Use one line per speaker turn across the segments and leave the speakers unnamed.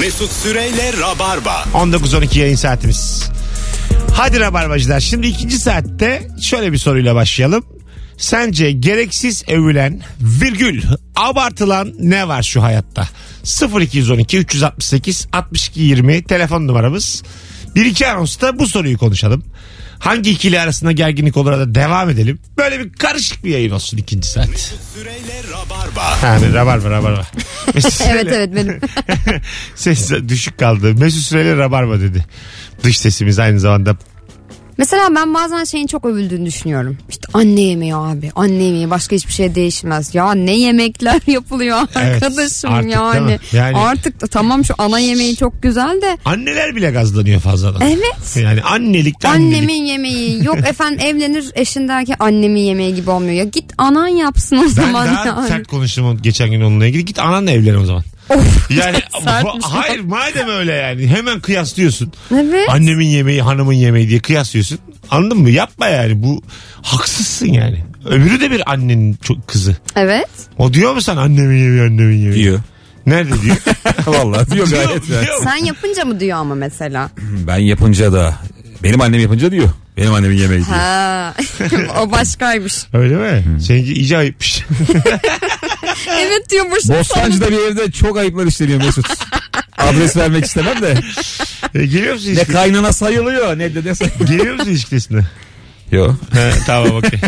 Mesut Süreyle Rabarba.
19-12 yayın saatimiz. Hadi Rabarbacılar şimdi ikinci saatte şöyle bir soruyla başlayalım. Sence gereksiz övülen virgül abartılan ne var şu hayatta? 0212 368 62 20 telefon numaramız. Bir iki anonsta bu soruyu konuşalım. Hangi ikili arasında gerginlik olur da devam edelim. Böyle bir karışık bir yayın olsun ikinci saat.
Süreyle Rabarba.
Yani rabarba rabarba. Mesut
Evet
Süreyle-
evet benim.
Ses düşük kaldı. Mesut Süreyle rabarba dedi. Dış sesimiz aynı zamanda
Mesela ben bazen şeyin çok övüldüğünü düşünüyorum. İşte anne yemeği abi. Anne yemeği başka hiçbir şey değişmez. Ya ne yemekler yapılıyor
Evet,
arkadaşım
artık değil mi?
yani.
Yani-
Artık da tamam şu ana yemeği çok güzel de.
Anneler bile gazlanıyor fazladan.
Evet.
Yani annelik annelik.
Annemin yemeği yok efendim evlenir eşindeki annemin yemeği gibi olmuyor. Ya git anan yapsın o
Ben
zaman.
daha
yani.
sert konuştum o- geçen gün onunla ilgili. Git ananla evlen o zaman.
Of,
Yani
sertmiş.
bu- hayır madem öyle yani hemen kıyaslıyorsun.
Evet.
Annemin yemeği hanımın yemeği diye kıyaslıyorsun. Anladın mı? Yapma yani bu haksızsın yani. Öbürü de bir annenin çok kızı.
Evet.
O diyor mu sana annemin yemeği annemin yemeği?
Diyor.
Nerede diyor?
Vallahi diyor
Diyor,
gayet. rahat.
diyor.
Sen yapınca mı diyor ama mesela?
Ben yapınca da benim annem yapınca diyor. Benim annemin yemeği diyor.
Ha, o başkaymış.
Öyle mi? Seninki iyice ayıpmış.
Evet diyormuş.
Bostancı'da bir evde çok ayıplar işleniyor Mesut. Adres vermek istemem de.
E, geliyor musun
Ne
ilişki?
kaynana sayılıyor ne dede sayılıyor.
Geliyor musun ilişkisine?
Yok.
He, tamam okey.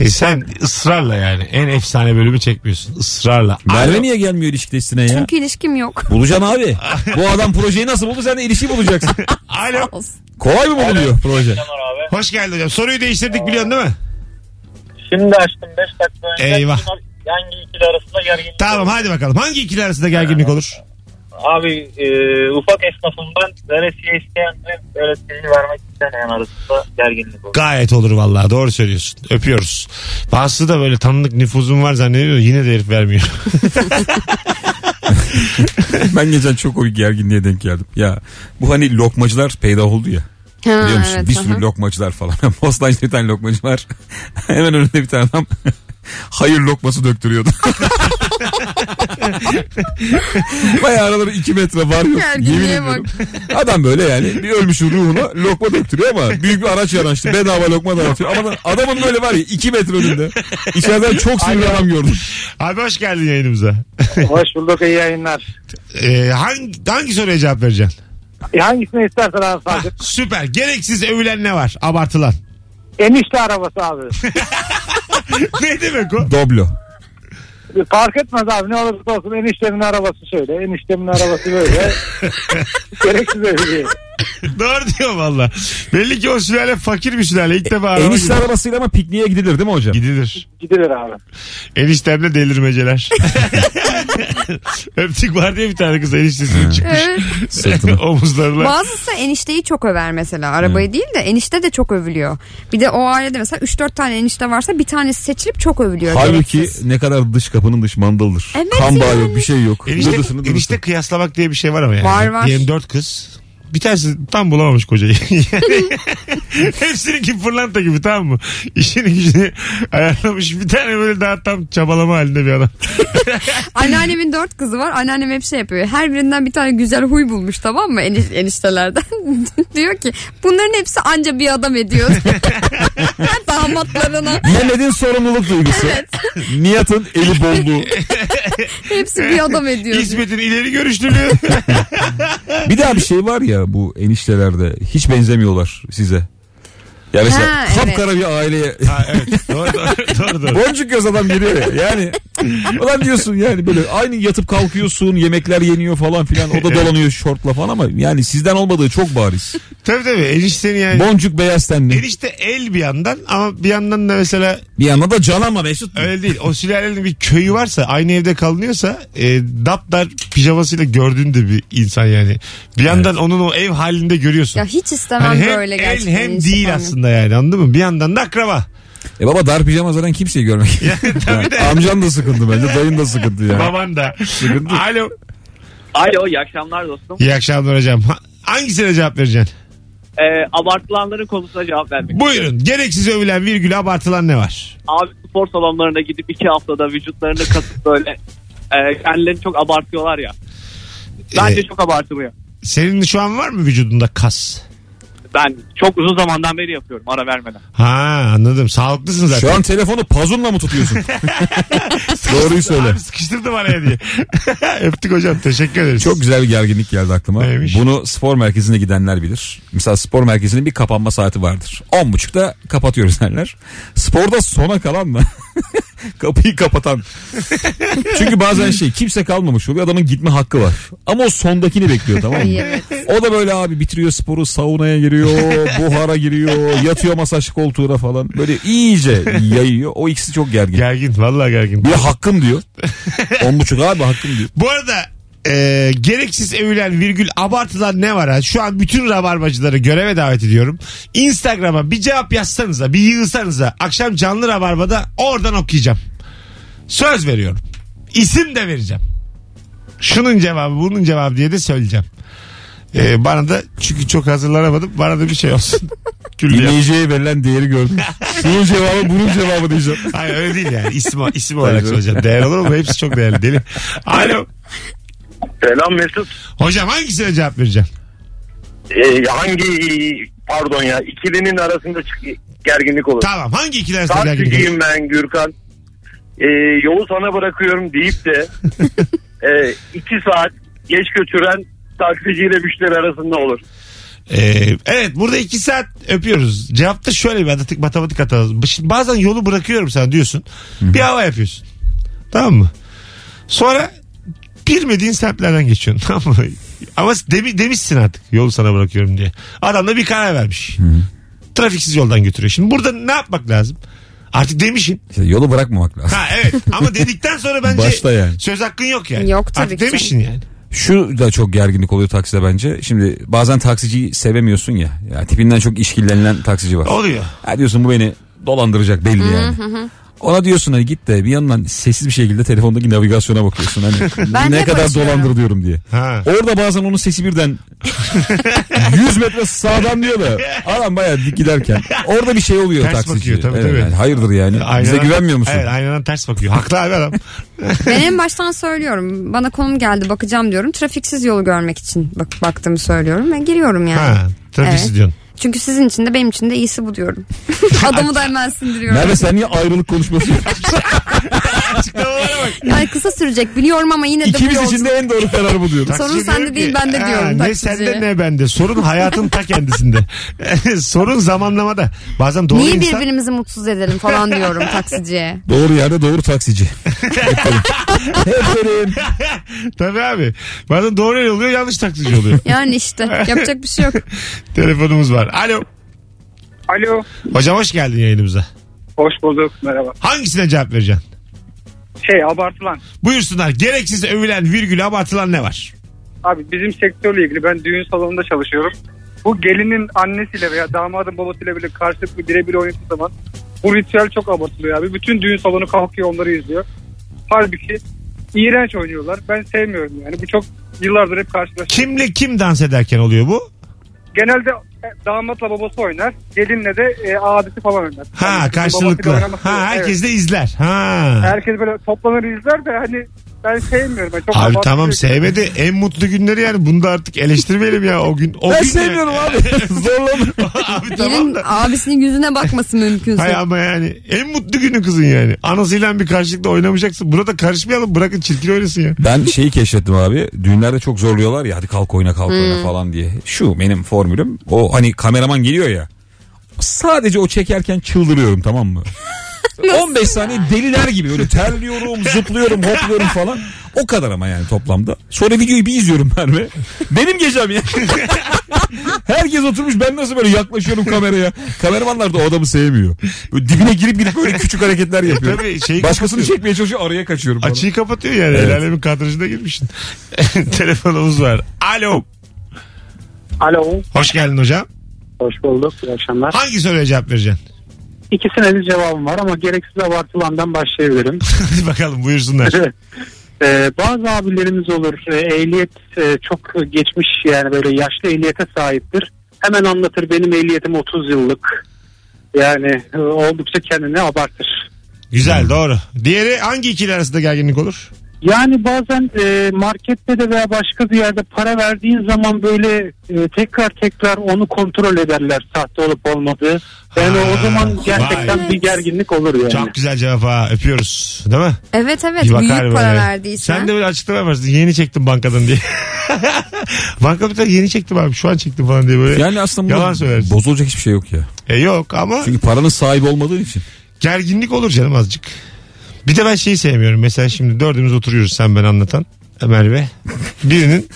E sen ısrarla yani en efsane bölümü çekmiyorsun ısrarla.
Merve
Alo.
niye gelmiyor ilişkidesine ya?
Çünkü ilişkim yok.
Bulacağım abi. Bu adam projeyi nasıl buldu sen de ilişki bulacaksın.
Alo.
Olsun.
Kolay mı bulunuyor proje?
abi.
Hoş geldin hocam. Soruyu değiştirdik biliyorsun değil mi?
Şimdi açtım 5 dakika önce.
Eyvah.
Bunlar Hangi ikili arasında gerginlik?
Tamam hadi bakalım. Hangi ikili arasında gerginlik olur?
Abi e, ufak esnafından veresiye isteyenle veresiyeyi vermek istemeyen arasında gerginlik olur.
Gayet olur vallahi doğru söylüyorsun. Öpüyoruz. Bazısı da böyle tanıdık nüfuzum var zannediyor yine de herif vermiyor.
Ben geçen çok komik gerginliğe denk geldim. Ya bu hani lokmacılar peyda oldu ya.
Ha,
Biliyor musun?
evet,
bir sürü
aha.
lokmacılar falan. Bostancı'da bir tane lokmacı var. Hemen önünde bir tane adam hayır lokması döktürüyordu. Bayağı araları 2 metre var yok.
Gerginliğe
Yemin ediyorum. Adam böyle yani bir ölmüş ruhuna lokma döktürüyor ama büyük bir araç yanaştı. Bedava lokma dağıtıyor. Ama adamın böyle var ya 2 metre önünde. İçeriden çok sinirli adam gördüm.
Abi hoş geldin yayınımıza.
Hoş bulduk iyi yayınlar.
Ee, hangi, hangi soruya cevap vereceksin?
E, hangisini istersen abi
Ah,
Sadık.
süper. Gereksiz övülen ne var? Abartılan.
Enişte arabası abi.
ne demek o?
Doblo.
Fark etmez abi ne olursa olsun eniştemin arabası şöyle. Eniştemin arabası böyle. Gereksiz şey. övgü.
Doğru diyor valla. Belli ki o sülale fakir bir sülale. İlk defa araba
Enişte
gidiyor.
arabasıyla ama pikniğe gidilir değil mi hocam?
gidilir.
Gidilir abi.
Eniştemle delirmeceler. Öptük var diye bir tane kız eniştesinin çıkmış
Evet.
Sırtına.
omuzlarına.
Ee, Bazısı enişteyi çok över mesela arabayı değil de enişte de çok övülüyor. Bir de o ailede mesela 3-4 tane enişte varsa bir tanesi seçilip çok övülüyor.
Halbuki
gereksiz.
ne kadar dış kapının dış mandalıdır.
Evet
kan bağı
yani.
yok bir şey yok.
Enişte,
Dıdısını dıdısını.
enişte kıyaslamak diye bir şey var ama yani.
Var, var.
Diyelim dört kız. Bir tanesi tam bulamamış kocayı. Yani Hepsininki fırlanta gibi tamam mı? İşini gücünü ayarlamış. Bir tane böyle daha tam çabalama halinde bir adam.
Anneannemin dört kızı var. Anneannem hep şey yapıyor. Her birinden bir tane güzel huy bulmuş tamam mı Eniş- eniştelerden. diyor ki bunların hepsi anca bir adam ediyor. Damatlarına
Mehmet'in sorumluluk duygusu. Nihat'ın eli bolluğu.
hepsi bir adam ediyor.
Hizmetin ileri görüşlülüğü.
Bir daha bir şey var ya bu eniştelerde hiç benzemiyorlar size. Ya mesela
Ha,
kapkara bir aileye
ha, evet. Doğru doğru. doğru, doğru.
boncuk göz adam geliyor ya. Yani ulan diyorsun yani böyle aynı yatıp kalkıyorsun yemekler yeniyor falan filan. O da dolanıyor şortla falan ama yani sizden olmadığı çok bariz.
Tabii tabii eniştenin yani.
Boncuk beyaz tenli.
Enişte el bir yandan ama bir yandan da mesela
Bir yandan da can ama Mesut.
Öyle değil. O sülalenin bir köyü varsa aynı evde kalınıyorsa e, daptar pijamasıyla gördüğün de bir insan yani. Bir yandan onun o ev halinde görüyorsun.
Ya hiç istemem
Hani hem
böyle
el
gerçekten.
hem
enişte
değil
falan.
aslında yani anladın mı? Bir yandan da akraba.
E baba dar pijama zaten kimseyi görmek.
Tabii de.
Amcan da sıkıldı bence dayın da sıkıldı yani.
Baban da. Alo.
Alo iyi akşamlar dostum.
İyi akşamlar hocam. Ha- Hangisine cevap vereceksin?
Ee, abartılanların konusuna cevap vermek.
Buyurun. Gereksiz övülen virgül abartılan ne var?
Abi spor salonlarına gidip iki haftada vücutlarını kasıp böyle e, kendilerini çok abartıyorlar ya. Bence
Ee,
çok abartılıyor.
Senin şu an var mı vücudunda kas?
Ben çok uzun zamandan beri yapıyorum ara vermeden.
Ha anladım. Sağlıklısın zaten.
Şu an telefonu pazunla mı tutuyorsun? Doğruyu söyle.
Abi sıkıştırdım araya diye. Öptük hocam. Teşekkür ederiz.
Çok güzel bir gerginlik geldi aklıma.
Neymiş?
Bunu spor merkezine gidenler bilir. Mesela spor merkezinin bir kapanma saati vardır. 10.30'da kapatıyoruz derler. Sporda sona kalan mı? Kapıyı kapatan. Çünkü bazen şey kimse kalmamış oluyor. Adamın gitme hakkı var. Ama o sondakini bekliyor tamam mı?
Ay, evet.
O da böyle abi bitiriyor sporu saunaya giriyor, buhara giriyor, yatıyor masaj koltuğuna falan. Böyle iyice yayıyor. O ikisi çok gergin.
Gergin. Vallahi gergin.
Bir de hakkım diyor. 10.30 abi hakkım diyor.
Bu arada e, gereksiz övülen virgül abartılan ne var ha? Şu an bütün rabarbacıları göreve davet ediyorum. Instagram'a bir cevap yazsanıza bir yığılsanıza akşam canlı rabarbada oradan okuyacağım. Söz veriyorum. İsim de vereceğim. Şunun cevabı bunun cevabı diye de söyleyeceğim. E, bana da çünkü çok hazırlanamadım bana da bir şey olsun. Külliyat.
Dinleyiciye verilen değeri gördüm. Şunun cevabı bunun cevabı diyeceğim.
Hayır öyle değil yani. İsim, isim olarak
Tabii.
söyleyeceğim. Değer olur mu? Hepsi çok değerli. Deli. Alo.
Selam Mesut.
Hocam hangisine cevap vereceğim?
Ee, hangi pardon ya ikilinin arasında çık- gerginlik olur.
Tamam. Hangi ikili arasında
Tam
gerginlik olur?
Karşıcıyım ben Gürkan. Ee, yolu sana bırakıyorum deyip de e, iki saat geç götüren taksiciyle müşteri arasında olur.
Ee, evet burada iki saat öpüyoruz. Cevapta şöyle bir matematik, matematik hatası. Şimdi bazen yolu bırakıyorum sana diyorsun. Bir hava yapıyorsun. Tamam mı? Sonra bilmediğin semtlerden geçiyorsun. Tamam mı? Ama demi, demişsin artık yolu sana bırakıyorum diye. Adam da bir karar vermiş. Trafiksiz yoldan götürüyor. Şimdi burada ne yapmak lazım? Artık demişin.
İşte yolu bırakmamak lazım.
Ha evet ama dedikten sonra bence
Başta yani.
söz hakkın yok yani.
Yok tabii
Artık
ki.
demişsin yani.
Şu da çok gerginlik oluyor takside bence. Şimdi bazen taksiciyi sevemiyorsun ya. ya tipinden çok işkillenilen taksici var.
Oluyor.
Ha diyorsun bu beni dolandıracak belli yani. Ona diyorsun hani git de bir yandan sessiz bir şekilde telefondaki navigasyona bakıyorsun. Hani
Ben
ne
hep
kadar
açıyorum.
dolandırılıyorum diye.
Ha.
Orada bazen onun sesi birden 100 metre sağdan diyor da adam bayağı dik giderken. Orada bir şey oluyor
Ters
taksici.
bakıyor, tabii,
Evet,
tabii.
yani hayırdır yani. Bize
Aynadan-
güvenmiyor musun?
Evet aynadan ters bakıyor. Haklı abi adam.
Ben en baştan söylüyorum. Bana konum geldi bakacağım diyorum. Trafiksiz yolu görmek için bak baktığımı söylüyorum ve giriyorum yani.
Ha, trafiksiz
Evet.
diyorsun.
Çünkü sizin için de benim için de iyisi bu diyorum. Adamı da hemen sindiriyorum.
Merve sen niye ayrılık konuşması
Açıklamalara bak.
Yani kısa sürecek biliyorum ama yine de bu
İkimiz
yolculuk.
için de en doğru kararı bu diyoruz.
Sorun
Taksici
sende
diyor ki,
değil, bende
"Ha,
diyorum
Ne
taksiciye."
sende ne bende. Sorun hayatın ta kendisinde. Sorun zamanlamada. Bazen doğru
Niye
insan.
birbirimizi mutsuz edelim falan diyorum taksiciye.
Doğru yerde doğru taksici. Aferin.
Tabii abi. Bazen doğru el oluyor yanlış taksici oluyor.
Yani işte yapacak bir şey yok.
Telefonumuz var. Alo.
Alo.
Hocam hoş geldin yayınımıza.
Hoş bulduk. Merhaba.
Hangisine cevap vereceksin?
Şey abartılan.
Buyursunlar. Gereksiz övülen virgül abartılan ne var?
Abi bizim sektörle ilgili ben düğün salonunda çalışıyorum. Bu gelinin annesiyle veya damadın babasıyla bile karşılıklı birebir oynadığı zaman bu ritüel çok abartılıyor abi. Bütün düğün salonu kalkıyor onları izliyor. Halbuki iğrenç oynuyorlar. Ben sevmiyorum yani. Bu çok yıllardır hep karşılaşıyorum.
Kimle kim dans ederken oluyor bu?
Genelde e, damatla babası oynar. Gelinle de e, abisi falan oynar.
Ha
Yani bizim
karşılıklı.
babasıyla oynaması-
Ha herkes
Evet.
de izler. Ha.
Herkes böyle toplanır izler de hani ben sevmiyorum. Ben çok
Abi
abartılıyor.
tamam sevmedi. En mutlu günleri yani. Bunu da artık eleştirmeyelim ya o gün. O
Ben
gün
sevmiyorum abi. Zorlama.
abi
Gelin
tamam da.
abisinin yüzüne bakması mümkünse.
Hay ama yani en mutlu günü kızın yani. Anasıyla bir karşılıklı oynamayacaksın. Burada karışmayalım bırakın çirkin oynasın ya.
Ben şeyi keşfettim abi. Düğünlerde çok zorluyorlar ya hadi kalk oyna kalk oyna falan diye. Şu benim formülüm. O hani kameraman geliyor ya. Sadece o çekerken çıldırıyorum tamam mı? 15 saniye deliler gibi böyle terliyorum, zıplıyorum, hopluyorum falan. O kadar ama yani toplamda. Sonra videoyu bir izliyorum Merve. Benim gecem ya. Herkes oturmuş ben nasıl böyle yaklaşıyorum kameraya. Kameramanlar da o adamı sevmiyor. Böyle dibine girip girip böyle küçük hareketler yapıyor.
Tabii şeyi
Başkasını
kapatıyor.
çekmeye çalışıyor araya kaçıyorum falan.
Açıyı kapatıyor yani.
Evet.
El alemin kadrajına girmişsin. Telefonumuz var. Alo.
Alo.
Hoş geldin hocam.
Hoş bulduk. İyi akşamlar.
Hangi soruya cevap vereceksin?
İkisine de cevabım var ama gereksiz abartılandan başlayabilirim.
Hadi bakalım buyursunlar.
Ee, bazı abilerimiz olur. Ee, ehliyet e, çok geçmiş yani böyle yaşlı ehliyete sahiptir. Hemen anlatır benim ehliyetim 30 yıllık. Yani e, oldukça kendini abartır.
Güzel doğru. Diğeri hangi ikili arasında gerginlik olur?
Yani bazen e, markette de veya başka bir yerde para verdiğin zaman böyle e, tekrar tekrar onu kontrol ederler sahte olup olmadığı. Yani
Ha,
o zaman gerçekten
vay.
bir gerginlik olur yani.
Çok güzel cevap ha. Öpüyoruz. Değil mi?
Evet evet
Bir bakar
büyük
böyle.
para verdiyse.
Sen de böyle açıklama yaparsın. Yeni çektim bankadan diye. Bankadan yeni çektim abi. Şu an çektim falan diye böyle.
Yani aslında
Yalan söylersin.
bunda bozulacak hiçbir şey yok ya.
E yok ama
Çünkü paranın sahibi olmadığın için.
gerginlik olur canım azıcık. Bir de ben şeyi sevmiyorum. Mesela şimdi dördümüz oturuyoruz sen ben anlatan. Merve. Birinin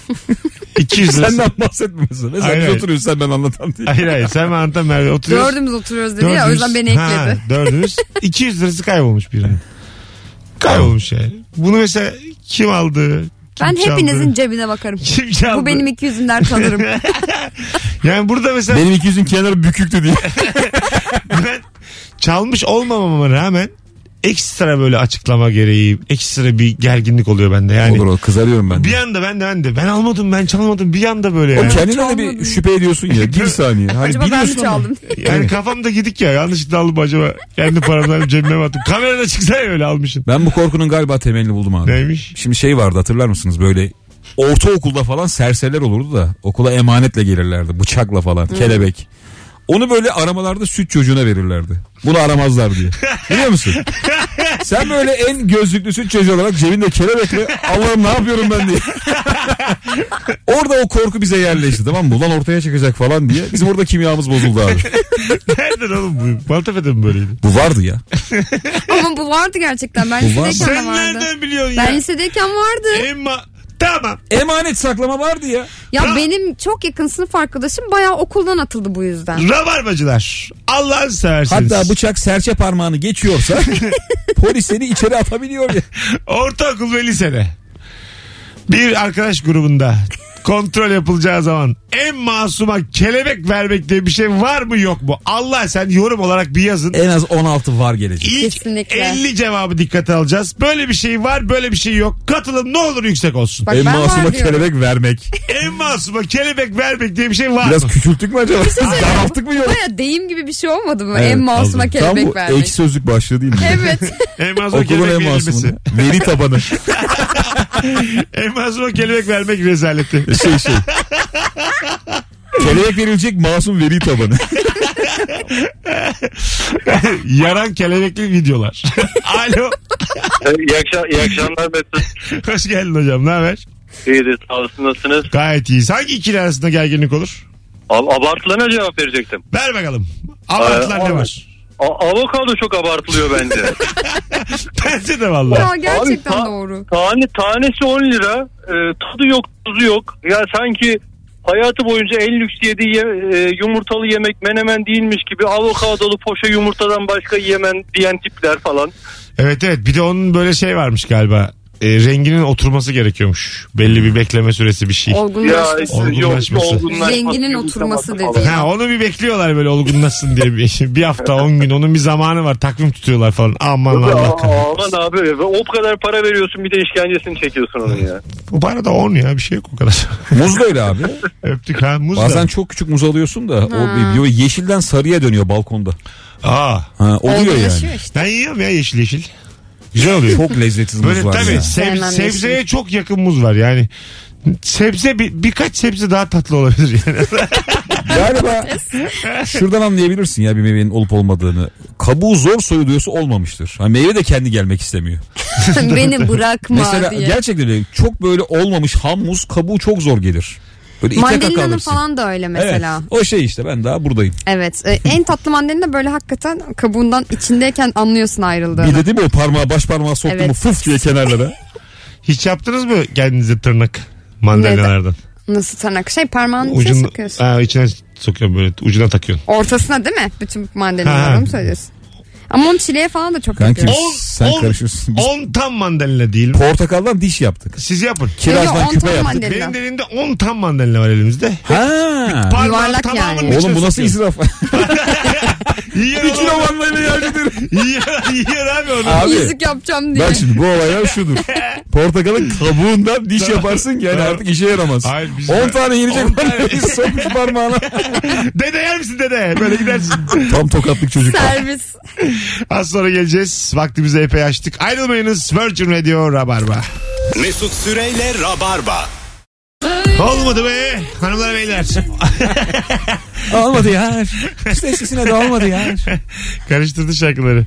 200 lirası.
Senden bahsetmiyorsun. Ne
Hayır,
sen
hayır.
oturuyorsun sen ben anlatan diye.
Hayır hayır sen ben anlatan Merve oturuyoruz.
Dördümüz oturuyoruz dedi ya o yüzden beni ekledi.
ha, dördümüz. 200 lirası kaybolmuş birinin. Kaybolmuş yani. Bunu mesela kim aldı? Kim
ben
çaldı?
hepinizin cebine bakarım.
Kim çaldı?
Bu benim iki yüzümden tanırım.
Yani burada mesela
Benim 200'ün kenarı büküktü diye.
ben çalmış olmamama rağmen ekstra böyle açıklama gereği ekstra bir gerginlik oluyor bende yani.
Olur o kızarıyorum ben. de.
Bir anda ben de ben de ben almadım ben çalmadım bir anda böyle
O
yani.
kendine de
Çalmadım.
bir şüphe ediyorsun ya. Bir saniye. Hani
Acaba ben mi
biliyorsun ama-
çaldım?
Yani kafamda gidik ya yanlışlıkla aldım acaba kendi paramdan cebime mi attım. Kamerada çıksa ya öyle almışım.
Ben bu korkunun galiba temelini buldum abi.
Neymiş?
Şimdi şey vardı hatırlar mısınız böyle ortaokulda falan serseriler olurdu da okula emanetle gelirlerdi bıçakla falan kelebek. Onu böyle aramalarda süt çocuğuna verirlerdi. Bunu aramazlar diye. Biliyor musun? Sen böyle en gözlüklü süt çocuğu olarak cebinde kelebekle Allah'ım ne yapıyorum ben diye. Orada o korku bize yerleşti tamam mı? Ulan ortaya çıkacak falan diye. Bizim orada kimyamız bozuldu abi.
Nereden oğlum bu? Maltepe'de mi böyleydi?
Bu vardı ya.
Ama bu vardı gerçekten. Ben
Bu var.
lisedeyken de
Sen
vardı.
nereden biliyorsun
Ben
ya? E,
lisedeyken vardı.
Emma tamam.
Emanet saklama vardı ya.
Ya
Ya-
benim çok yakın sınıf arkadaşım bayağı okuldan atıldı bu yüzden.
Rabarbacılar. Allah'ını seversiniz.
Hatta bıçak serçe parmağını geçiyorsa polis seni içeri atabiliyor ya.
Ortaokul ve lisede bir arkadaş grubunda kontrol yapılacağı zaman en masuma kelebek vermek diye bir şey var mı yok mu? Allah sen yorum olarak bir yazın.
En az 16 var gelecek.
İlk
Kesinlikle.
50 cevabı dikkate alacağız. Böyle bir şey var böyle bir şey yok. Katılım ne olur yüksek olsun.
Bak ben var diyorum.
E, vermek.
En masuma kelebek vermek diye bir şey var mı?
küçülttük mü acaba? Daralttık mı yok?
şey Baya deyim gibi bir şey olmadı mı?
Evet,
en masuma
aldım.
kelebek
Tam bu
vermek.
ekşi sözlük başlığı değil mi?
Evet.
En masuma
Okulun
kelebek
en
verilmesi.
masumunu. Veri tabanı.
En masuma kelebek vermek rezaleti.
Şey şey. Kelebek verilecek masum veri tabanı.
Yaran kelebekli videolar. Alo.
iyi, akşam, iyi akşamlar Mesut.
Hoş geldin hocam. Ne haber?
İyidir sağ olasın nasılsınız?
Gayet iyiyiz. Hangi ikili arasında gerginlik olur?
Ab- Abartılarına cevap verecektim.
Ver bakalım. Abartılar
Ee,
ne
abi.
var?
A- avokado çok abartılıyor bence.
Bence de valla.
Ya gerçekten
Abi, ta-
doğru.
Tane, tanesi 10 lira. Ee, tadı yok tuzu yok. Ya sanki hayatı boyunca en lüks yediği ye- e, yumurtalı yemek menemen değilmiş gibi avokadolu poşa yumurtadan başka yemen diyen tipler falan.
Evet evet bir de onun böyle şey varmış galiba. E, renginin oturması gerekiyormuş. Belli bir bekleme süresi bir şey.
Ya işte
Olgunlaşması.
Olgunlaşması.
yok olgunlaşması,
Zenginin
yumurta
oturması
falan.
dedi.
Ha onu bir bekliyorlar böyle olgunlaşsın diye bir, bir hafta 10 gün onun bir zamanı var takvim tutuyorlar falan aman Allah
Aa,
kahretsin.
Aman abi o kadar para veriyorsun bir de işkencesini çekiyorsun onun ya.
Bu para da 10 ya bir şey yok o kadar.
Muz da öyle abi.
Öptük ha muz
Bazen
da.
çok küçük muz alıyorsun da o bir- bir yeşilden sarıya dönüyor balkonda.
Aa,
Ha, oluyor
Olgunlaşıyor
yani.
işte.
ben yiyorum ya yeşil yeşil. Güzel oluyor.
Çok lezzetli muz
Böyle
var
tabii
ya.
seb-
Sevmem
sebzeye
yeşil.
çok yakın muz var yani. Sebze bir, birkaç sebze daha tatlı olabilir yani.
Galiba şuradan anlayabilirsin ya bir meyvenin olup olmadığını. Kabuğu zor soyuluyorsa olmamıştır. Hani meyve de kendi gelmek istemiyor.
Beni bırakma
Mesela
diye.
gerçekten öyle. Çok böyle olmamış ham muz kabuğu çok zor gelir. Böyle ite kaka
Mandalina'nın
alırsın.
falan da öyle mesela.
Evet, o şey işte ben daha buradayım.
Evet. e, en tatlı mandalina böyle hakikaten kabuğundan içindeyken anlıyorsun
Bir
ayrıldığını.
de değil mi o parmağı baş parmağı soktu
Evet.
mu fıf diye kenarlara.
Hiç yaptınız mı kendinize tırnak mandalinalardan?
Nasıl tırnak? Şey parmağını içine
Ucunu,
sokuyorsun.
ha, içine sokuyorum böyle ucuna takıyorsun.
Ortasına değil mi? Bütün
Ha.
mandalinaları mı söylüyorsun? Ama onu çileye falan da çok
Kanki
yapıyor.
On-
sen
on-
karışıyorsun. Biz
10 tam mandalina değil.
portakaldan diş yaptık.
Siz yapın.
Yok,
Kirazdan
on
küpe
tam
yaptık.
mandalina.
Benim de elimde 10 tam mandalina var elimizde.
Ha.
Parmağın
Yuvarlak
tamamının
yani.
içine
Oğlum bu nasıl
sokuyorum.
israf?
Yiyor
Bir kilo
oğlum.
mandalina yerdedir.
Yiyor, yiyor abi onu.
Abi.
Yüzük yapacağım diye.
Bak şimdi bu olaylar şudur. Portakalın kabuğundan diş yaparsın ki yani artık işe yaramaz.
Hayır, biz-
10 tane
On
yenecek
tane-
parmağını sokmuş parmağına.
Dede yer misin dede? Böyle gidersin.
Tam tokatlık çocuk.
Servis.
Az sonra geleceğiz. Vaktimizi epey açtık. Ayrılmayınız. Virgin Radio Rabarba.
Mesut Süreyle Rabarba.
Olmadı be hanımlar beyler.
Olmadı ya. İşte sesine de olmadı ya.
Karıştırdı şarkıları.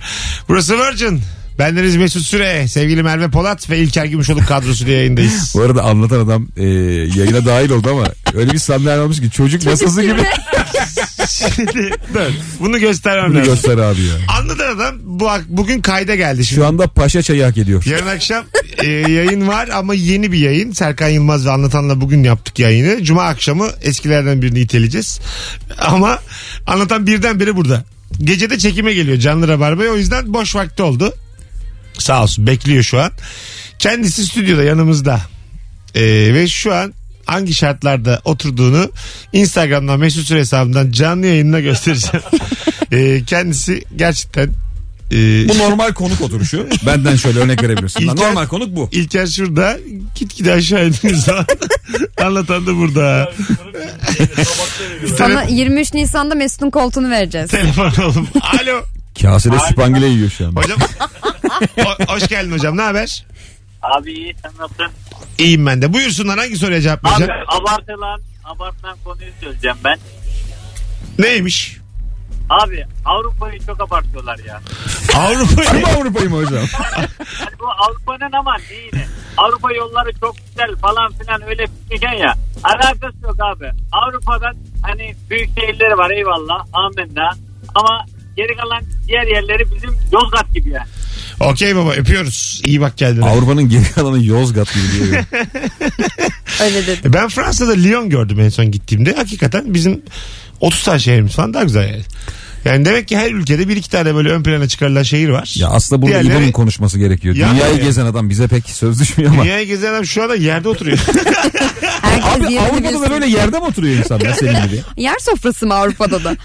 Burası Virgin. Bendeniz Mesut Süre, sevgili Merve Polat ve İlker Gümüşoluk kadrosuyla yayındayız.
Bu arada anlatan adam e, yayına dahil oldu ama öyle bir sandalye almış ki çocuk masası gibi.
Şimdi dur, bunu göstermem
Bunu
lazım.
göster abi ya.
Anladın adam bu, ak- bugün kayda geldi şimdi.
Şu anda paşa çayı hak ediyor.
Yarın akşam e, yayın var ama yeni bir yayın. Serkan Yılmaz ve Anlatan'la bugün yaptık yayını. Cuma akşamı eskilerden birini iteleyeceğiz. Ama Anlatan birden biri burada. Gecede çekime geliyor canlı rabarbaya. O yüzden boş vakti oldu. Sağ olsun bekliyor şu an. Kendisi stüdyoda yanımızda. E, ve şu an hangi şartlarda oturduğunu Instagram'dan Mesut Süre hesabından canlı yayınına göstereceğim. E, kendisi gerçekten e,
Bu normal konuk oturuşu. Benden şöyle örnek verebilirsin.
İlker-
Normal konuk bu.
İlker şurada gitgide aşağı indiği zaman anlatan da burada.
Sana 23 Nisan'da Mesut'un koltuğunu vereceğiz.
Telefon oğlum. Alo.
Kasede süpangile yiyor şu an.
Hocam. Ho- hoş geldin hocam. Ne haber?
Abi iyi sen nasılsın?
İyiyim ben de. Buyursunlar hangi soruya cevap
Abi
vereceğim?
abartılan, abartılan konuyu söyleyeceğim ben.
Neymiş?
Abi Avrupa'yı çok abartıyorlar ya.
Avrupa'yı.
Harbi Avrupa'yı mı hocam?
Yani bu Avrupa'nın ama neyini? Avrupa yolları çok güzel falan filan öyle fikirken ya. Alakası yok abi. Avrupa'dan hani büyük şehirleri var eyvallah amenna. Ama geri kalan diğer yerleri bizim Yozgat gibi yani.
Okey baba öpüyoruz. İyi bak kendine.
Avrupa'nın geri kalanı Yozgat gibi diyor.
Öyle dedi.
E ben Fransa'da Lyon gördüm en son gittiğimde. Hakikaten bizim 30 tane şehrimiz falan daha güzel yani. Yani demek ki her ülkede bir iki tane böyle ön plana çıkarılan şehir var.
Ya aslında burada
Diğerleri-
İbo'nun konuşması gerekiyor.
Ya-
Dünyayı
ya.
gezen adam bize pek söz düşmüyor ama.
Dünyayı gezen adam şu anda yerde oturuyor.
Herkes
Abi
yerini
Avrupa'da da
bilsin.
böyle yerde mi oturuyor insanlar senin gibi?
Yer sofrası mı Avrupa'da da?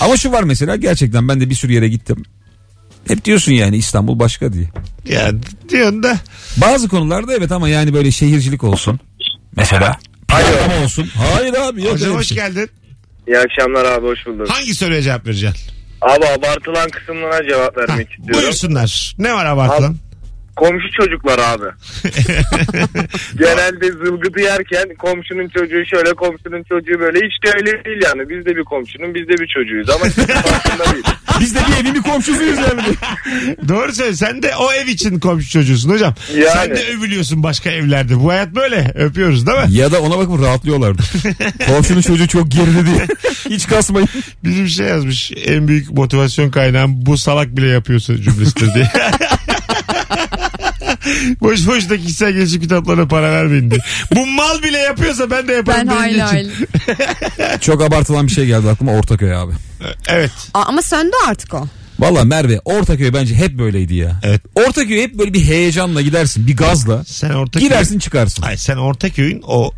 Ama şu var mesela gerçekten ben de bir sürü yere gittim. Hep diyorsun yani İstanbul başka diye.
ya diyorsun da
Bazı konularda evet ama yani böyle şehircilik olsun. Mesela. Paylama olsun. Hayır abi
Hocam
yok. öyle bir
hoş
şey.
geldin.
İyi akşamlar abi hoş bulduk.
Hangi soruya cevap vereceksin?
Abi abartılan kısımlara cevap vermek
Ha,
istiyorum.
Buyursunlar. Ne var abartılan?
Komşu çocuklar abi. Genelde zılgıtı yerken komşunun çocuğu şöyle komşunun çocuğu böyle hiç de öyle değil yani. Biz de bir komşunun biz de bir çocuğuyuz ama hiç farkında değil.
Biz de bir evin bir komşusuyuz yani.
Doğru söylüyorsun. Sen de o ev için komşu çocuğusun hocam.
Yani.
Sen de övülüyorsun başka evlerde. Bu hayat böyle. Öpüyoruz değil mi?
ya da ona bakıp rahatlıyorlardı. Komşunun çocuğu çok geride diye. Hiç kasmayın.
Bizim şey yazmış. En büyük motivasyon kaynağım bu salak bile yapıyorsun cümlesidir diye. boş boş da kişisel gelişim kitaplarına para vermeyin diye. Bu mal bile yapıyorsa ben de yaparım.
Ben
benim
hayli
için.
hayli.
Çok abartılan bir şey geldi aklıma Ortaköy abi.
Evet.
Aa, ama söndü artık o.
Valla Merve Ortaköy bence hep böyleydi ya.
Evet.
Ortaköy hep böyle bir heyecanla gidersin bir gazla.
Sen Ortaköy'ün...
Girersin çıkarsın.
Ay sen Ortaköy'ün o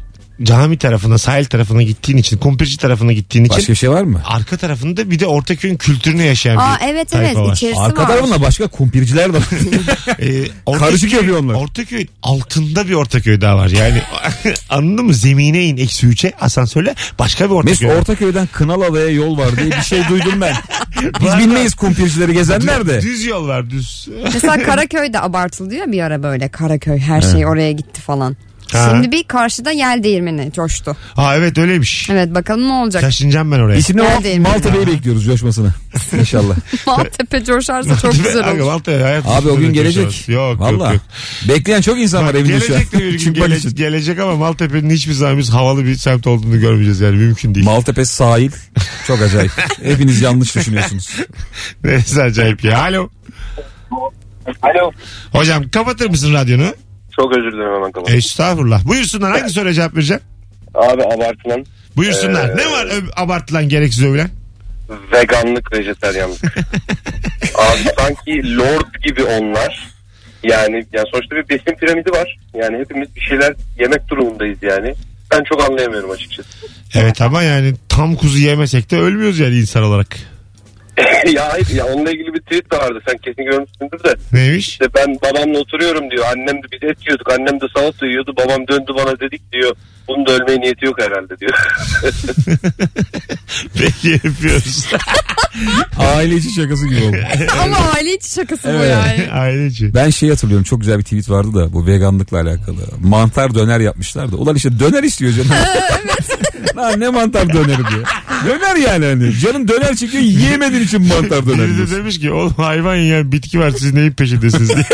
cami tarafına, sahil tarafına gittiğin için, kumpirci tarafına gittiğin için
Başka bir şey var mı?
arka tarafında bir de Ortaköy'ün kültürünü yaşayan
Aa
bir
evet evet
tayfa var.
içerisi
Arka
var.
tarafında başka kumpirciler de var.
Ee,
Karışık yapıyor onlar.
Ortaköy'ün altında bir Ortaköy daha var. Yani anladın mı? Zemine in eksi 3'e asansörle başka bir
Mesut
Ortaköy. var.
Ortaköy'den Kınalada'ya yol var diye bir şey duydum ben. Biz bilmeyiz kumpircileri gezenler de.
Düz yol var düz.
Mesela Karaköy'de abartılıyor bir ara böyle Karaköy her şey oraya gitti falan.
Ha.
Şimdi bir karşıda yel değirmeni coştu.
ha evet öyleymiş.
Evet bakalım ne olacak.
Taşınacağım ben oraya.
Biz şimdi
Nerede
Mal-
emin
Maltepe'yi bekliyoruz coşmasını. İnşallah.
Maltepe coşarsa çok güzel
Aga,
olur.
Maltepe hayat
Abi o
üstüne
gün
dönüş
gelecek.
orası. Yok
Valla.
yok yok.
Bekleyen çok insan var
Bak,
evinde şu an.
gelecek de bir gün
Çıkmak
gele-
için.
gelecek ama Maltepe'nin hiçbir zaman biz havalı bir semt olduğunu görmeyeceğiz yani mümkün değil.
Maltepe sahil çok acayip. Hepiniz yanlış düşünüyorsunuz.
Neresi acayip ya. Alo.
Alo.
Hocam kapatır mısın radyonu?
Çok özür dilerim hemen kapat.
Estağfurullah. Buyursunlar hangi soruya cevap vereceğim?
Abi abartılan
Buyursunlar.
Ee,
Ne var ö- abartılan gereksiz övülen?
veganlık, vejeteryanlık. Abi sanki lord gibi onlar. Yani, yani sonuçta bir besin piramidi var. Yani hepimiz bir şeyler yemek durumundayız yani. Ben çok anlayamıyorum açıkçası.
Evet ama yani tam kuzu yemesek de ölmüyoruz yani insan olarak.
ya hayır ya onunla ilgili bir tweet de vardı. Sen kesin görmüşsündür de.
Neymiş?
İşte ben babamla oturuyorum diyor. Annem de biz et yiyorduk. Annem de salata yiyordu. Babam döndü bana dedik diyor. Bunun da ölmeye niyeti yok herhalde diyor.
Peki öpüyoruz.
Aile içi şakası gibi oldu.
Ama aile içi şakası bu
Evet.
yani.
Aileci.
Ben şey hatırlıyorum çok güzel bir tweet vardı da bu veganlıkla alakalı. Mantar döner yapmışlar da. Ulan işte döner istiyor canım. Lan ne mantar döneri diyor. Döner yani hani. Canım döner çekiyor yiyemediğin için mantar döner
Biri de
diyorsun.
demiş ki oğlum hayvan yiyen bitki var siz neyin peşindesiniz diye.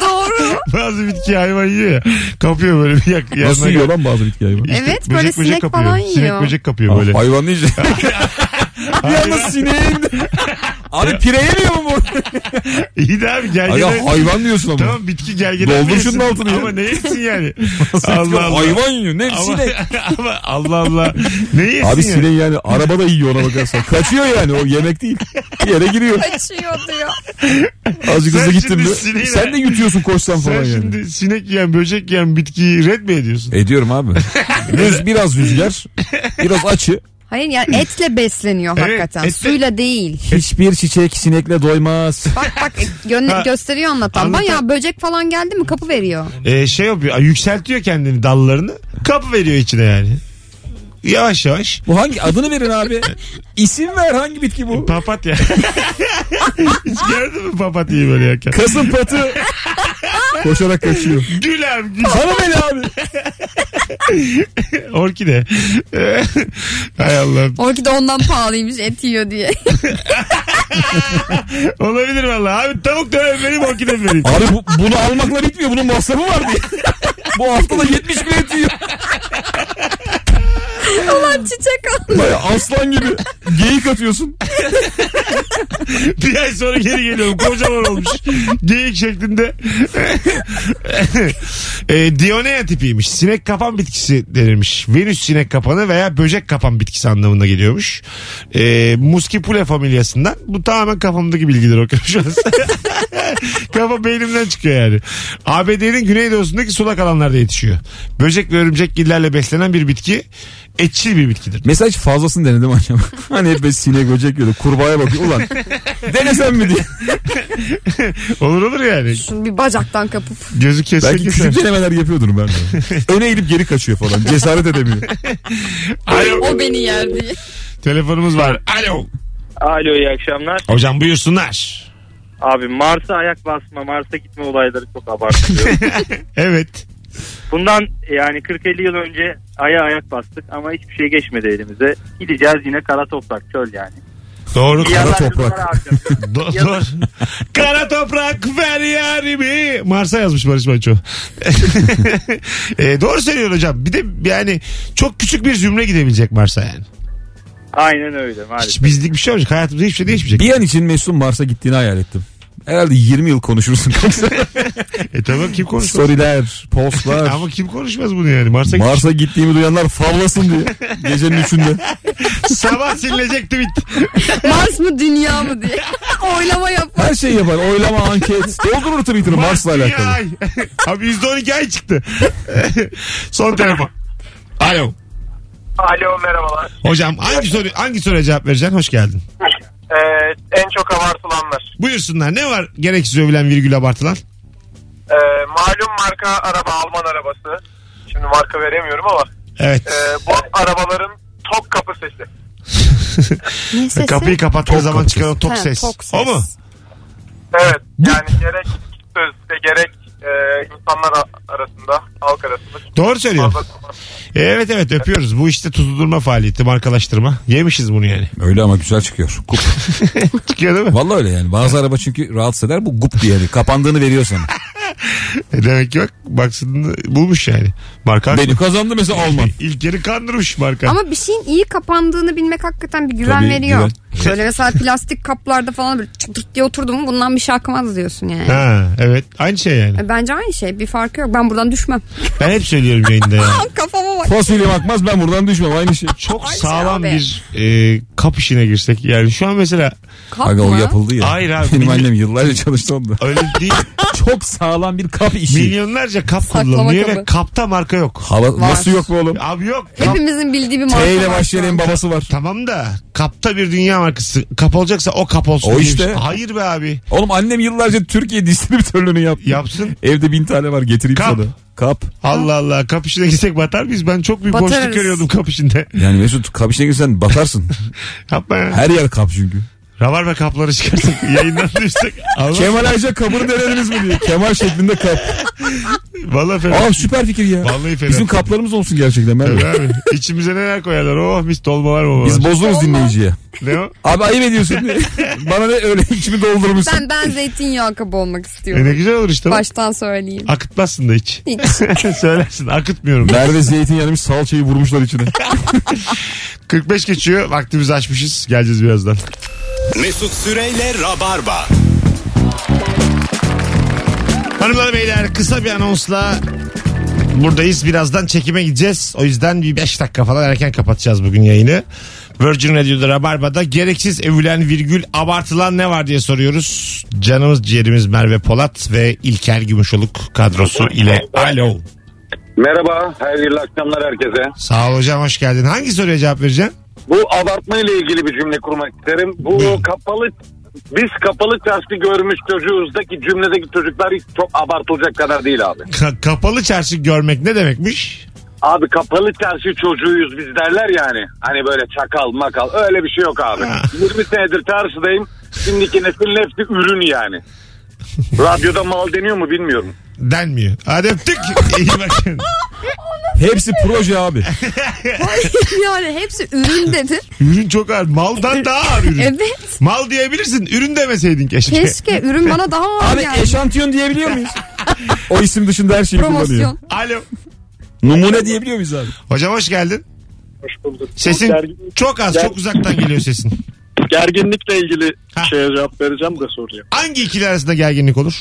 Doğru.
Bazı bitki hayvan yiyor ya. Kapıyor böyle bir yak.
Nasıl
yanına-
yiyor lan bazı bitki hayvan?
İşte
Evet, böyle
böcek
sinek
kapıyor.
falan
Sinek
yiyor.
böcek kapıyor böyle.
Ah, hayvan iyice. Yalnız sineğin. Abi pire yemiyor mu bu?
İyi de abi
Ay
gergeden.
ya hayvan diyorsun ama.
Tamam bitki gergeden.
Doldur
mi
şunun
yesin?
altını ya.
Ama ne yesin yani? Allah Allah.
Hayvan yiyor. Ne
Ama,
sinek?
ama Allah Allah. Ne yesin yani?
Abi sineği yani arabada yiyor ona bakarsan. Kaçıyor yani o yemek değil. Bir yere giriyor.
Kaçıyor diyor.
Azıcık
Sen
hızlı gittin
şimdi
mi?
sineği
Sen
de-
de yutuyorsun koşsan
Sen
falan yani.
şimdi sinek yiyen böcek yiyen bitkiyi red mi ediyorsun?
Ediyorum abi. Rüz, biraz rüzgar, biraz açı.
Hayır yani etle besleniyor
Evet,
hakikaten.
etle-
Suyla değil.
Hiçbir çiçek sinekle doymaz.
Bak bak gö-
Ha.
gösteriyor anlatan.
Anlatan-
Bayağı böcek falan geldi mi kapı veriyor.
Ee, şey yapıyor yükseltiyor kendini dallarını kapı veriyor içine yani. Yavaş yavaş.
Bu hangi adını verin abi? İsim ver hangi bitki bu?
Papatya. Hiç gördün mü papatyayı böyle yerken?
Kasım patı. Koşarak kaçıyor.
Gül abi gül.
Sana beni abi.
Orkide. Hay Allah.
Orkide ondan pahalıymış et yiyor diye.
Olabilir vallahi. Abi tavuk dönem vereyim orkide mi vereyim.
Abi bu- bunu almakla bitmiyor. Bunun masrafı var diye. bu haftada 70 bin et yiyor.
Ulan çiçek al.
Baya aslan gibi. Geyik atıyorsun.
Bir ay sonra geri geliyorum. Kocaman olmuş. Geyik şeklinde. e, Dionea tipiymiş. Sinek kapan bitkisi denirmiş. Venüs sinek kapanı veya böcek kapan bitkisi anlamında geliyormuş. E, Muscipula familyasından. Bu tamamen kafamdaki bilgiler okuyorum şu an. Kafa beynimden çıkıyor yani. ABD'nin güneydoğusundaki sulak alanlarda yetişiyor. Böcek ve örümcek gillerle beslenen bir bitki etçil bir bitkidir.
Mesela hiç fazlasını denedim acaba. Hani hep böyle sinek böcek yiyordu. Kurbağaya bakıyor. Ulan denesem mi diye.
Olur olur yani.
Şunu bir bacaktan kapıp.
Gözü kesmek
Belki küçük denemeler yapıyordur ben de. Öne eğilip geri kaçıyor falan. Cesaret edemiyor.
O beni yer diye.
Telefonumuz var. şey. Alo.
Alo iyi akşamlar.
Hocam buyursunlar.
Abi Mars'a ayak basma, Mars'a gitme olayları çok abartılıyor.
Evet.
Bundan yani 40-50 yıl önce aya ayak bastık ama hiçbir şey geçmedi elimize. Gideceğiz yine kara toprak çöl yani.
Doğru.
Bir yandan
toprak.
çocuklar harcayacak.
Do- doğru. Kara toprak ver yarimi. Mars'a yazmış Barış Manço. e, doğru söylüyor hocam. Bir de yani çok küçük bir zümre gidebilecek Mars'a yani.
Aynen öyle maalesef.
Hiç bizlik bir şey olacak. Hayatımızda hiçbir şey değişmeyecek.
Bir an için Mesut'un Mars'a gittiğini hayal ettim. Herhalde 20 yıl konuşursun.
E tamam kim konuşmaz?
Storyler, postlar.
Ama kim konuşmaz bunu yani? Mars'a gitmiş.
Mars'a gittiğimi duyanlar favlasın diye. Gecenin üçünde.
Sabah silinecek tweet.
Mars mı dünya mı diye. Oylama yap.
Her şeyi yapar. Oylama, anket. Doldurur Twitter'ı Mars'la
Ya
alakalı.
ay. Abi %12 ay çıktı. Son telefon. Alo.
Alo merhabalar.
Hocam hangi soru hangi soruya cevap vereceksin? Hoş geldin.
en çok abartılanlar.
Buyursunlar. Ne var gereksiz övülen virgül abartılan?
malum marka araba Alman arabası. Şimdi marka veremiyorum ama
Evet.
bu arabaların tok kapı sesi.
Ne sesi?
Kapıyı kapattığı
Tok
zaman
kapı
çıkan o tok
Ha,
ses.
tok ses.
O mu?
Evet yani gerek sözde gerek e, insanlar a- arasında halk arasında çok
Doğru söylüyor.
fazla kullanılıyor.
Evet evet öpüyoruz. Bu işte tuzu durma faaliyeti, markalaştırma. Yemişiz bunu yani.
Öyle ama güzel çıkıyor. Gup.
Çıkıyor değil mi?
Vallahi öyle yani. Bazı araba çünkü rahatsız eder. Bu gup diye. Kapandığını veriyor sana.
E Demek ki bak baksın bulmuş yani. Marka
Beni kazandı mesela Alman.
ilk yeri kandırmış marka.
Ama bir şeyin iyi kapandığını bilmek hakikaten bir güven
Tabii,
veriyor.
güven.
Böyle mesela plastik kaplarda falan böyle çıtırt diye oturdu mu bundan bir şey akmaz diyorsun yani.
Ha evet aynı şey yani.
E, Bence aynı şey. Bir farkı yok. Ben buradan düşmem.
Ben hep söylüyorum yayında yani.
Tam kafama bak.
Fasulye bakmaz ben buradan düşmem. Aynı şey.
Çok
Aynı şey
sağlam
abi.
bir e, kap işine girsek. Yani şu an mesela
Kap
Aga o
mı?
yapıldı ya.
Hayır abi,
Benim
milli-
annem yıllarca çalıştı onda.
öyle değil.
Çok sağlam bir kap işi.
Milyonlarca kap
Saklama
kullanılıyor
kabı.
ve kapta marka marka yok.
Hava,
Var.
nasıl yok bu oğlum?
Abi yok.
Hepimizin bildiği bir marka
T ile
var şu
başlayan
an.
en babası var.
Tamam da kapta bir dünya markası. Kap olacaksa o kap olsun.
O
diye bir
işte.
şey. Hayır be abi.
Oğlum annem yıllarca Türkiye distribütörlüğünü yaptı.
Yapsın.
Evde bin tane var getireyim
Kap.
sana. Kap.
Allah Allah. Kap işine gitsek batar mıyız? Ben çok büyük boşluk
Batarız.
görüyordum kap işinde.
Yani Mesut kap işine girsen batarsın.
Yapma ya.
Her yer kap çünkü.
Rabarba kapları çıkarttık. Yayından düştük. Allah,
Kemal Ayça kabını denediniz mi diye. Kemal şeklinde kap.
vallahi fena.
Aa süper fikir ya.
Vallahi fena.
Bizim kaplarımız olsun gerçekten. Ben
Tabii abi. İçimize neler koyarlar. Oh mis dolmalar mı
Biz bozuluruz dinleyiciye.
Ne o?
Abi ayıp ediyorsun. Bana ne öyle içimi doldurmuşsun.
Ben, ben zeytinyağı kabı olmak
E
istiyorum.
ne güzel olur işte. bak.
Baştan söyleyeyim.
Akıtmazsın da hiç.
Hiç.
Söylersin akıtmıyorum.
Merve zeytin yanmış salçayı vurmuşlar içine.
45 geçiyor. Vaktimizi açmışız. Geleceğiz birazdan.
Mesut Süreyle Rabarba.
Hanımlar beyler kısa bir anonsla buradayız. Birazdan çekime gideceğiz. O yüzden bir 5 dakika falan erken kapatacağız bugün yayını. Virgin Radio'da Rabarba'da gereksiz övülen virgül abartılan ne var diye soruyoruz. Canımız ciğerimiz Merve Polat ve İlker Gümüşoluk kadrosu ile. Alo.
Merhaba, hayırlı akşamlar herkese.
Sağ ol hocam hoş geldin. Hangi soruya cevap vereceksin?
Bu abartma ile ilgili bir cümle kurmak isterim. Bu
Buyurun.
kapalı biz kapalı çarşı görmüş çocuğuzdaki cümledeki çocuklar hiç çok abartılacak kadar değil abi.
Ka- kapalı çarşı görmek ne demekmiş?
Abi kapalı çarşı çocuğuyuz biz derler yani. Hani böyle çakal makal öyle bir şey yok abi. 20 senedir çarşıdayım. Şimdiki neslin hepsi ürün yani. Radyoda mal deniyor mu bilmiyorum.
Denmiyor. Hadi öptük. İyi bakın.
Hepsi proje abi.
yani hepsi ürün dedi.
Ürün çok ağır. Maldan daha ağır ürün.
Evet.
Mal diyebilirsin. Ürün demeseydin keşke.
Keşke ürün bana daha ağır
Abi
geldi.
eşantiyon diyebiliyor muyuz? O isim dışında her şeyi kullanıyor.
Promosyon.
Alo.
Numune diyebiliyor muyuz abi?
Hocam hoş geldin.
Hoş bulduk.
Sesin
Gergin-
çok az,
Ger-
çok uzaktan geliyor sesin.
gerginlikle ilgili
Ha.
şeye cevap vereceğim de soruyor.
Hangi ikili arasında gerginlik olur?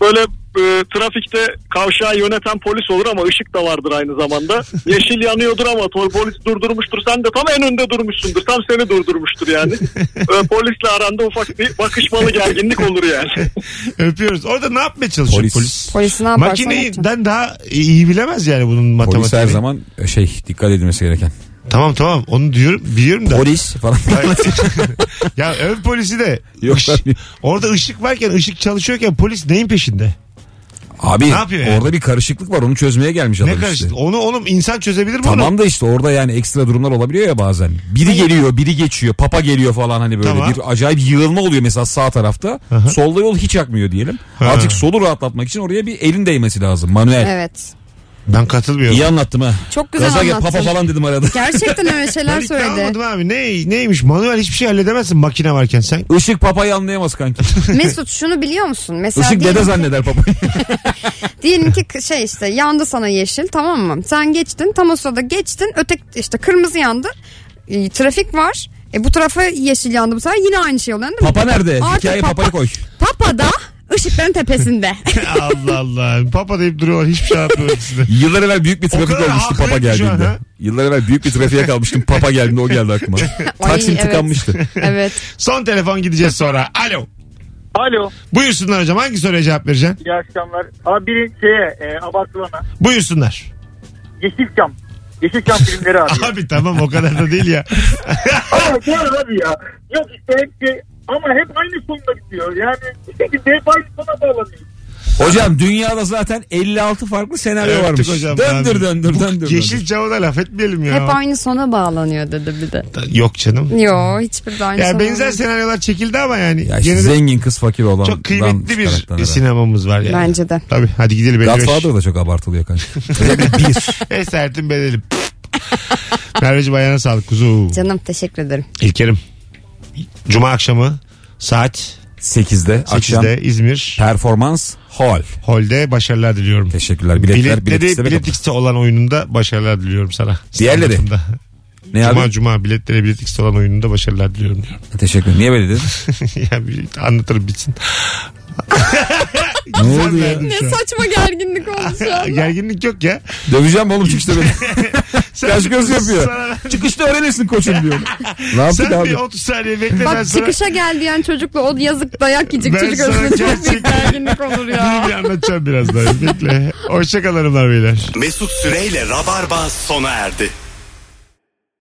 Böyle e, trafikte kavşağı yöneten polis olur ama ışık da vardır aynı zamanda. Yeşil yanıyordur ama to- polis durdurmuştur. Sen de tam en önde durmuşsundur. Tam seni durdurmuştur yani. E, polisle aranda ufak bir bakışmalı gerginlik olur yani.
Öpüyoruz. Orada ne yapmaya çalışıyor polis?
Polis.
Polisi ne yaparsan yapacaksın.
Makineden daha iyi bilemez yani bunun matematiğini.
Polis her zaman şey dikkat edilmesi gereken.
Tamam tamam onu diyorum biliyorum da.
Polis falan.
Hayır. ya öv polisi de.
Yok,
Iş-
ben-
orada ışık varken ışık çalışıyorken polis neyin peşinde?
Abi
yapıyor yani?
orada bir karışıklık var onu çözmeye gelmiş adam
ne
işte.
karıştı? Onu oğlum insan çözebilir mi onu?
Tamam da işte orada yani ekstra durumlar olabiliyor ya bazen. Biri geliyor, biri geçiyor, papa geliyor falan hani böyle
Tamam.
bir acayip yığılma oluyor mesela sağ tarafta. Solda yol hiç akmıyor diyelim.
Ha.
Artık solu rahatlatmak için oraya bir elin değmesi lazım. Manuel.
Evet.
Ben katılmıyorum.
İyi anlattım ha.
Çok güzel
Gaza gel,
anlattın.
papa falan dedim arada.
Gerçekten öyle
Ben
şeyler
ikna olmadım
söyledi.
abi. Ne, neymiş? Manuel hiçbir şey halledemezsin makine varken sen.
Işık papayı anlayamaz kanki.
Mesut şunu biliyor musun? Mesela
Işık
diyelim
dede
ki-
zanneder papayı.
Diyelim ki k- şey işte yandı sana yeşil tamam mı? Sen geçtin tam o sırada geçtin ötek işte kırmızı yandı. E, trafik var. E bu tarafa yeşil yandı bu sefer yine aynı şey oluyor değil mi?
Papa nerede?
Artık
Hikaye
papa-
papayı e, koy.
Papa da ışıkların tepesinde.
Allah Allah. Papa deyip duruyorlar. Hiçbir şey yapmıyor ikisi de.
Yıllar evvel büyük bir trafik
kadar
olmuştu papa
haklıymış şu an,
geldiğinde.
ha?
Yıllar evvel büyük bir trafiğe kalmıştım. Papa geldiğinde o geldi aklıma. Taksim
evet.
tıkanmıştı.
evet.
Son telefon gideceğiz sonra. Alo.
Alo.
Buyursunlar hocam. Hangi soruya cevap vereceksin?
İyi akşamlar. Abi biri şeye e, abartılana.
Buyursunlar.
Yeşilçam. Yeşilçam filmleri abi.
Abi tamam o kadar da değil ya.
Ama var abi ya. Yok işte hepsi ama hep aynı sonunda bitiyor. Yani bir şekilde hep aynı sona bağlanıyor.
Hocam dünyada zaten 56 farklı senaryo
Öptük
varmış.
hocam
döndür,
abi.
döndür döndür
Yeşil da laf etmeyelim ya.
Hep aynı sona bağlanıyor dedi bir de.
Yok canım.
Yo hiçbir de aynı
Ya
sona
benzer
bağlanıyor.
senaryolar çekildi ama yani.
Ya işte
Gene de
zengin kız fakir olan.
çok kıymetli bir sinemamız var yani.
Bence de.
Tabii hadi gidelim.
Godfather da çok abartılıyor kanka. Özellikle bir.
Esertin bedeli. Merveciğim ayağına sağlık kuzu.
Canım teşekkür ederim.
İlkerim. Cuma akşamı saat
8'de akşam
8'de İzmir
performans hall.
Hol'de başarılar diliyorum.
Teşekkürler. Biletler
Biletleri
bilet,
Bilet, X'te olan oyununda başarılar diliyorum sana.
Diğerleri?
İstanbul'da.
Ne
Cuma
abi?
cuma biletleri Bilet X'te olan oyununda başarılar diliyorum diyorum.
Teşekkür. Niye böyle dedin?
ya bir anlatırım bitsin.
ne
Sen
oldu ya?
verdin şu an.
saçma gerginlik oldu şu an.
Gerginlik yok ya.
Döveceğim oğlum çıkışta beni.
Sen,
Kaş göz yapıyor.
Sana-
çıkışta öğrenirsin koçum diyor. Ne yaptık
Sen bir
abi?
30 saniye bekle ben
Bak
sana.
çıkışa gel diyen çocukla o yazık dayak yiyecek
Ben
çocuk
sana
arasında çok büyük
gerçekten-
gerginlik komik olur
Bunu
ya.
bir anlatacağım birazdan. Bekle. Hoşçakalın hanımlar beyler.
Mesut Süreyle Rabarba sona erdi.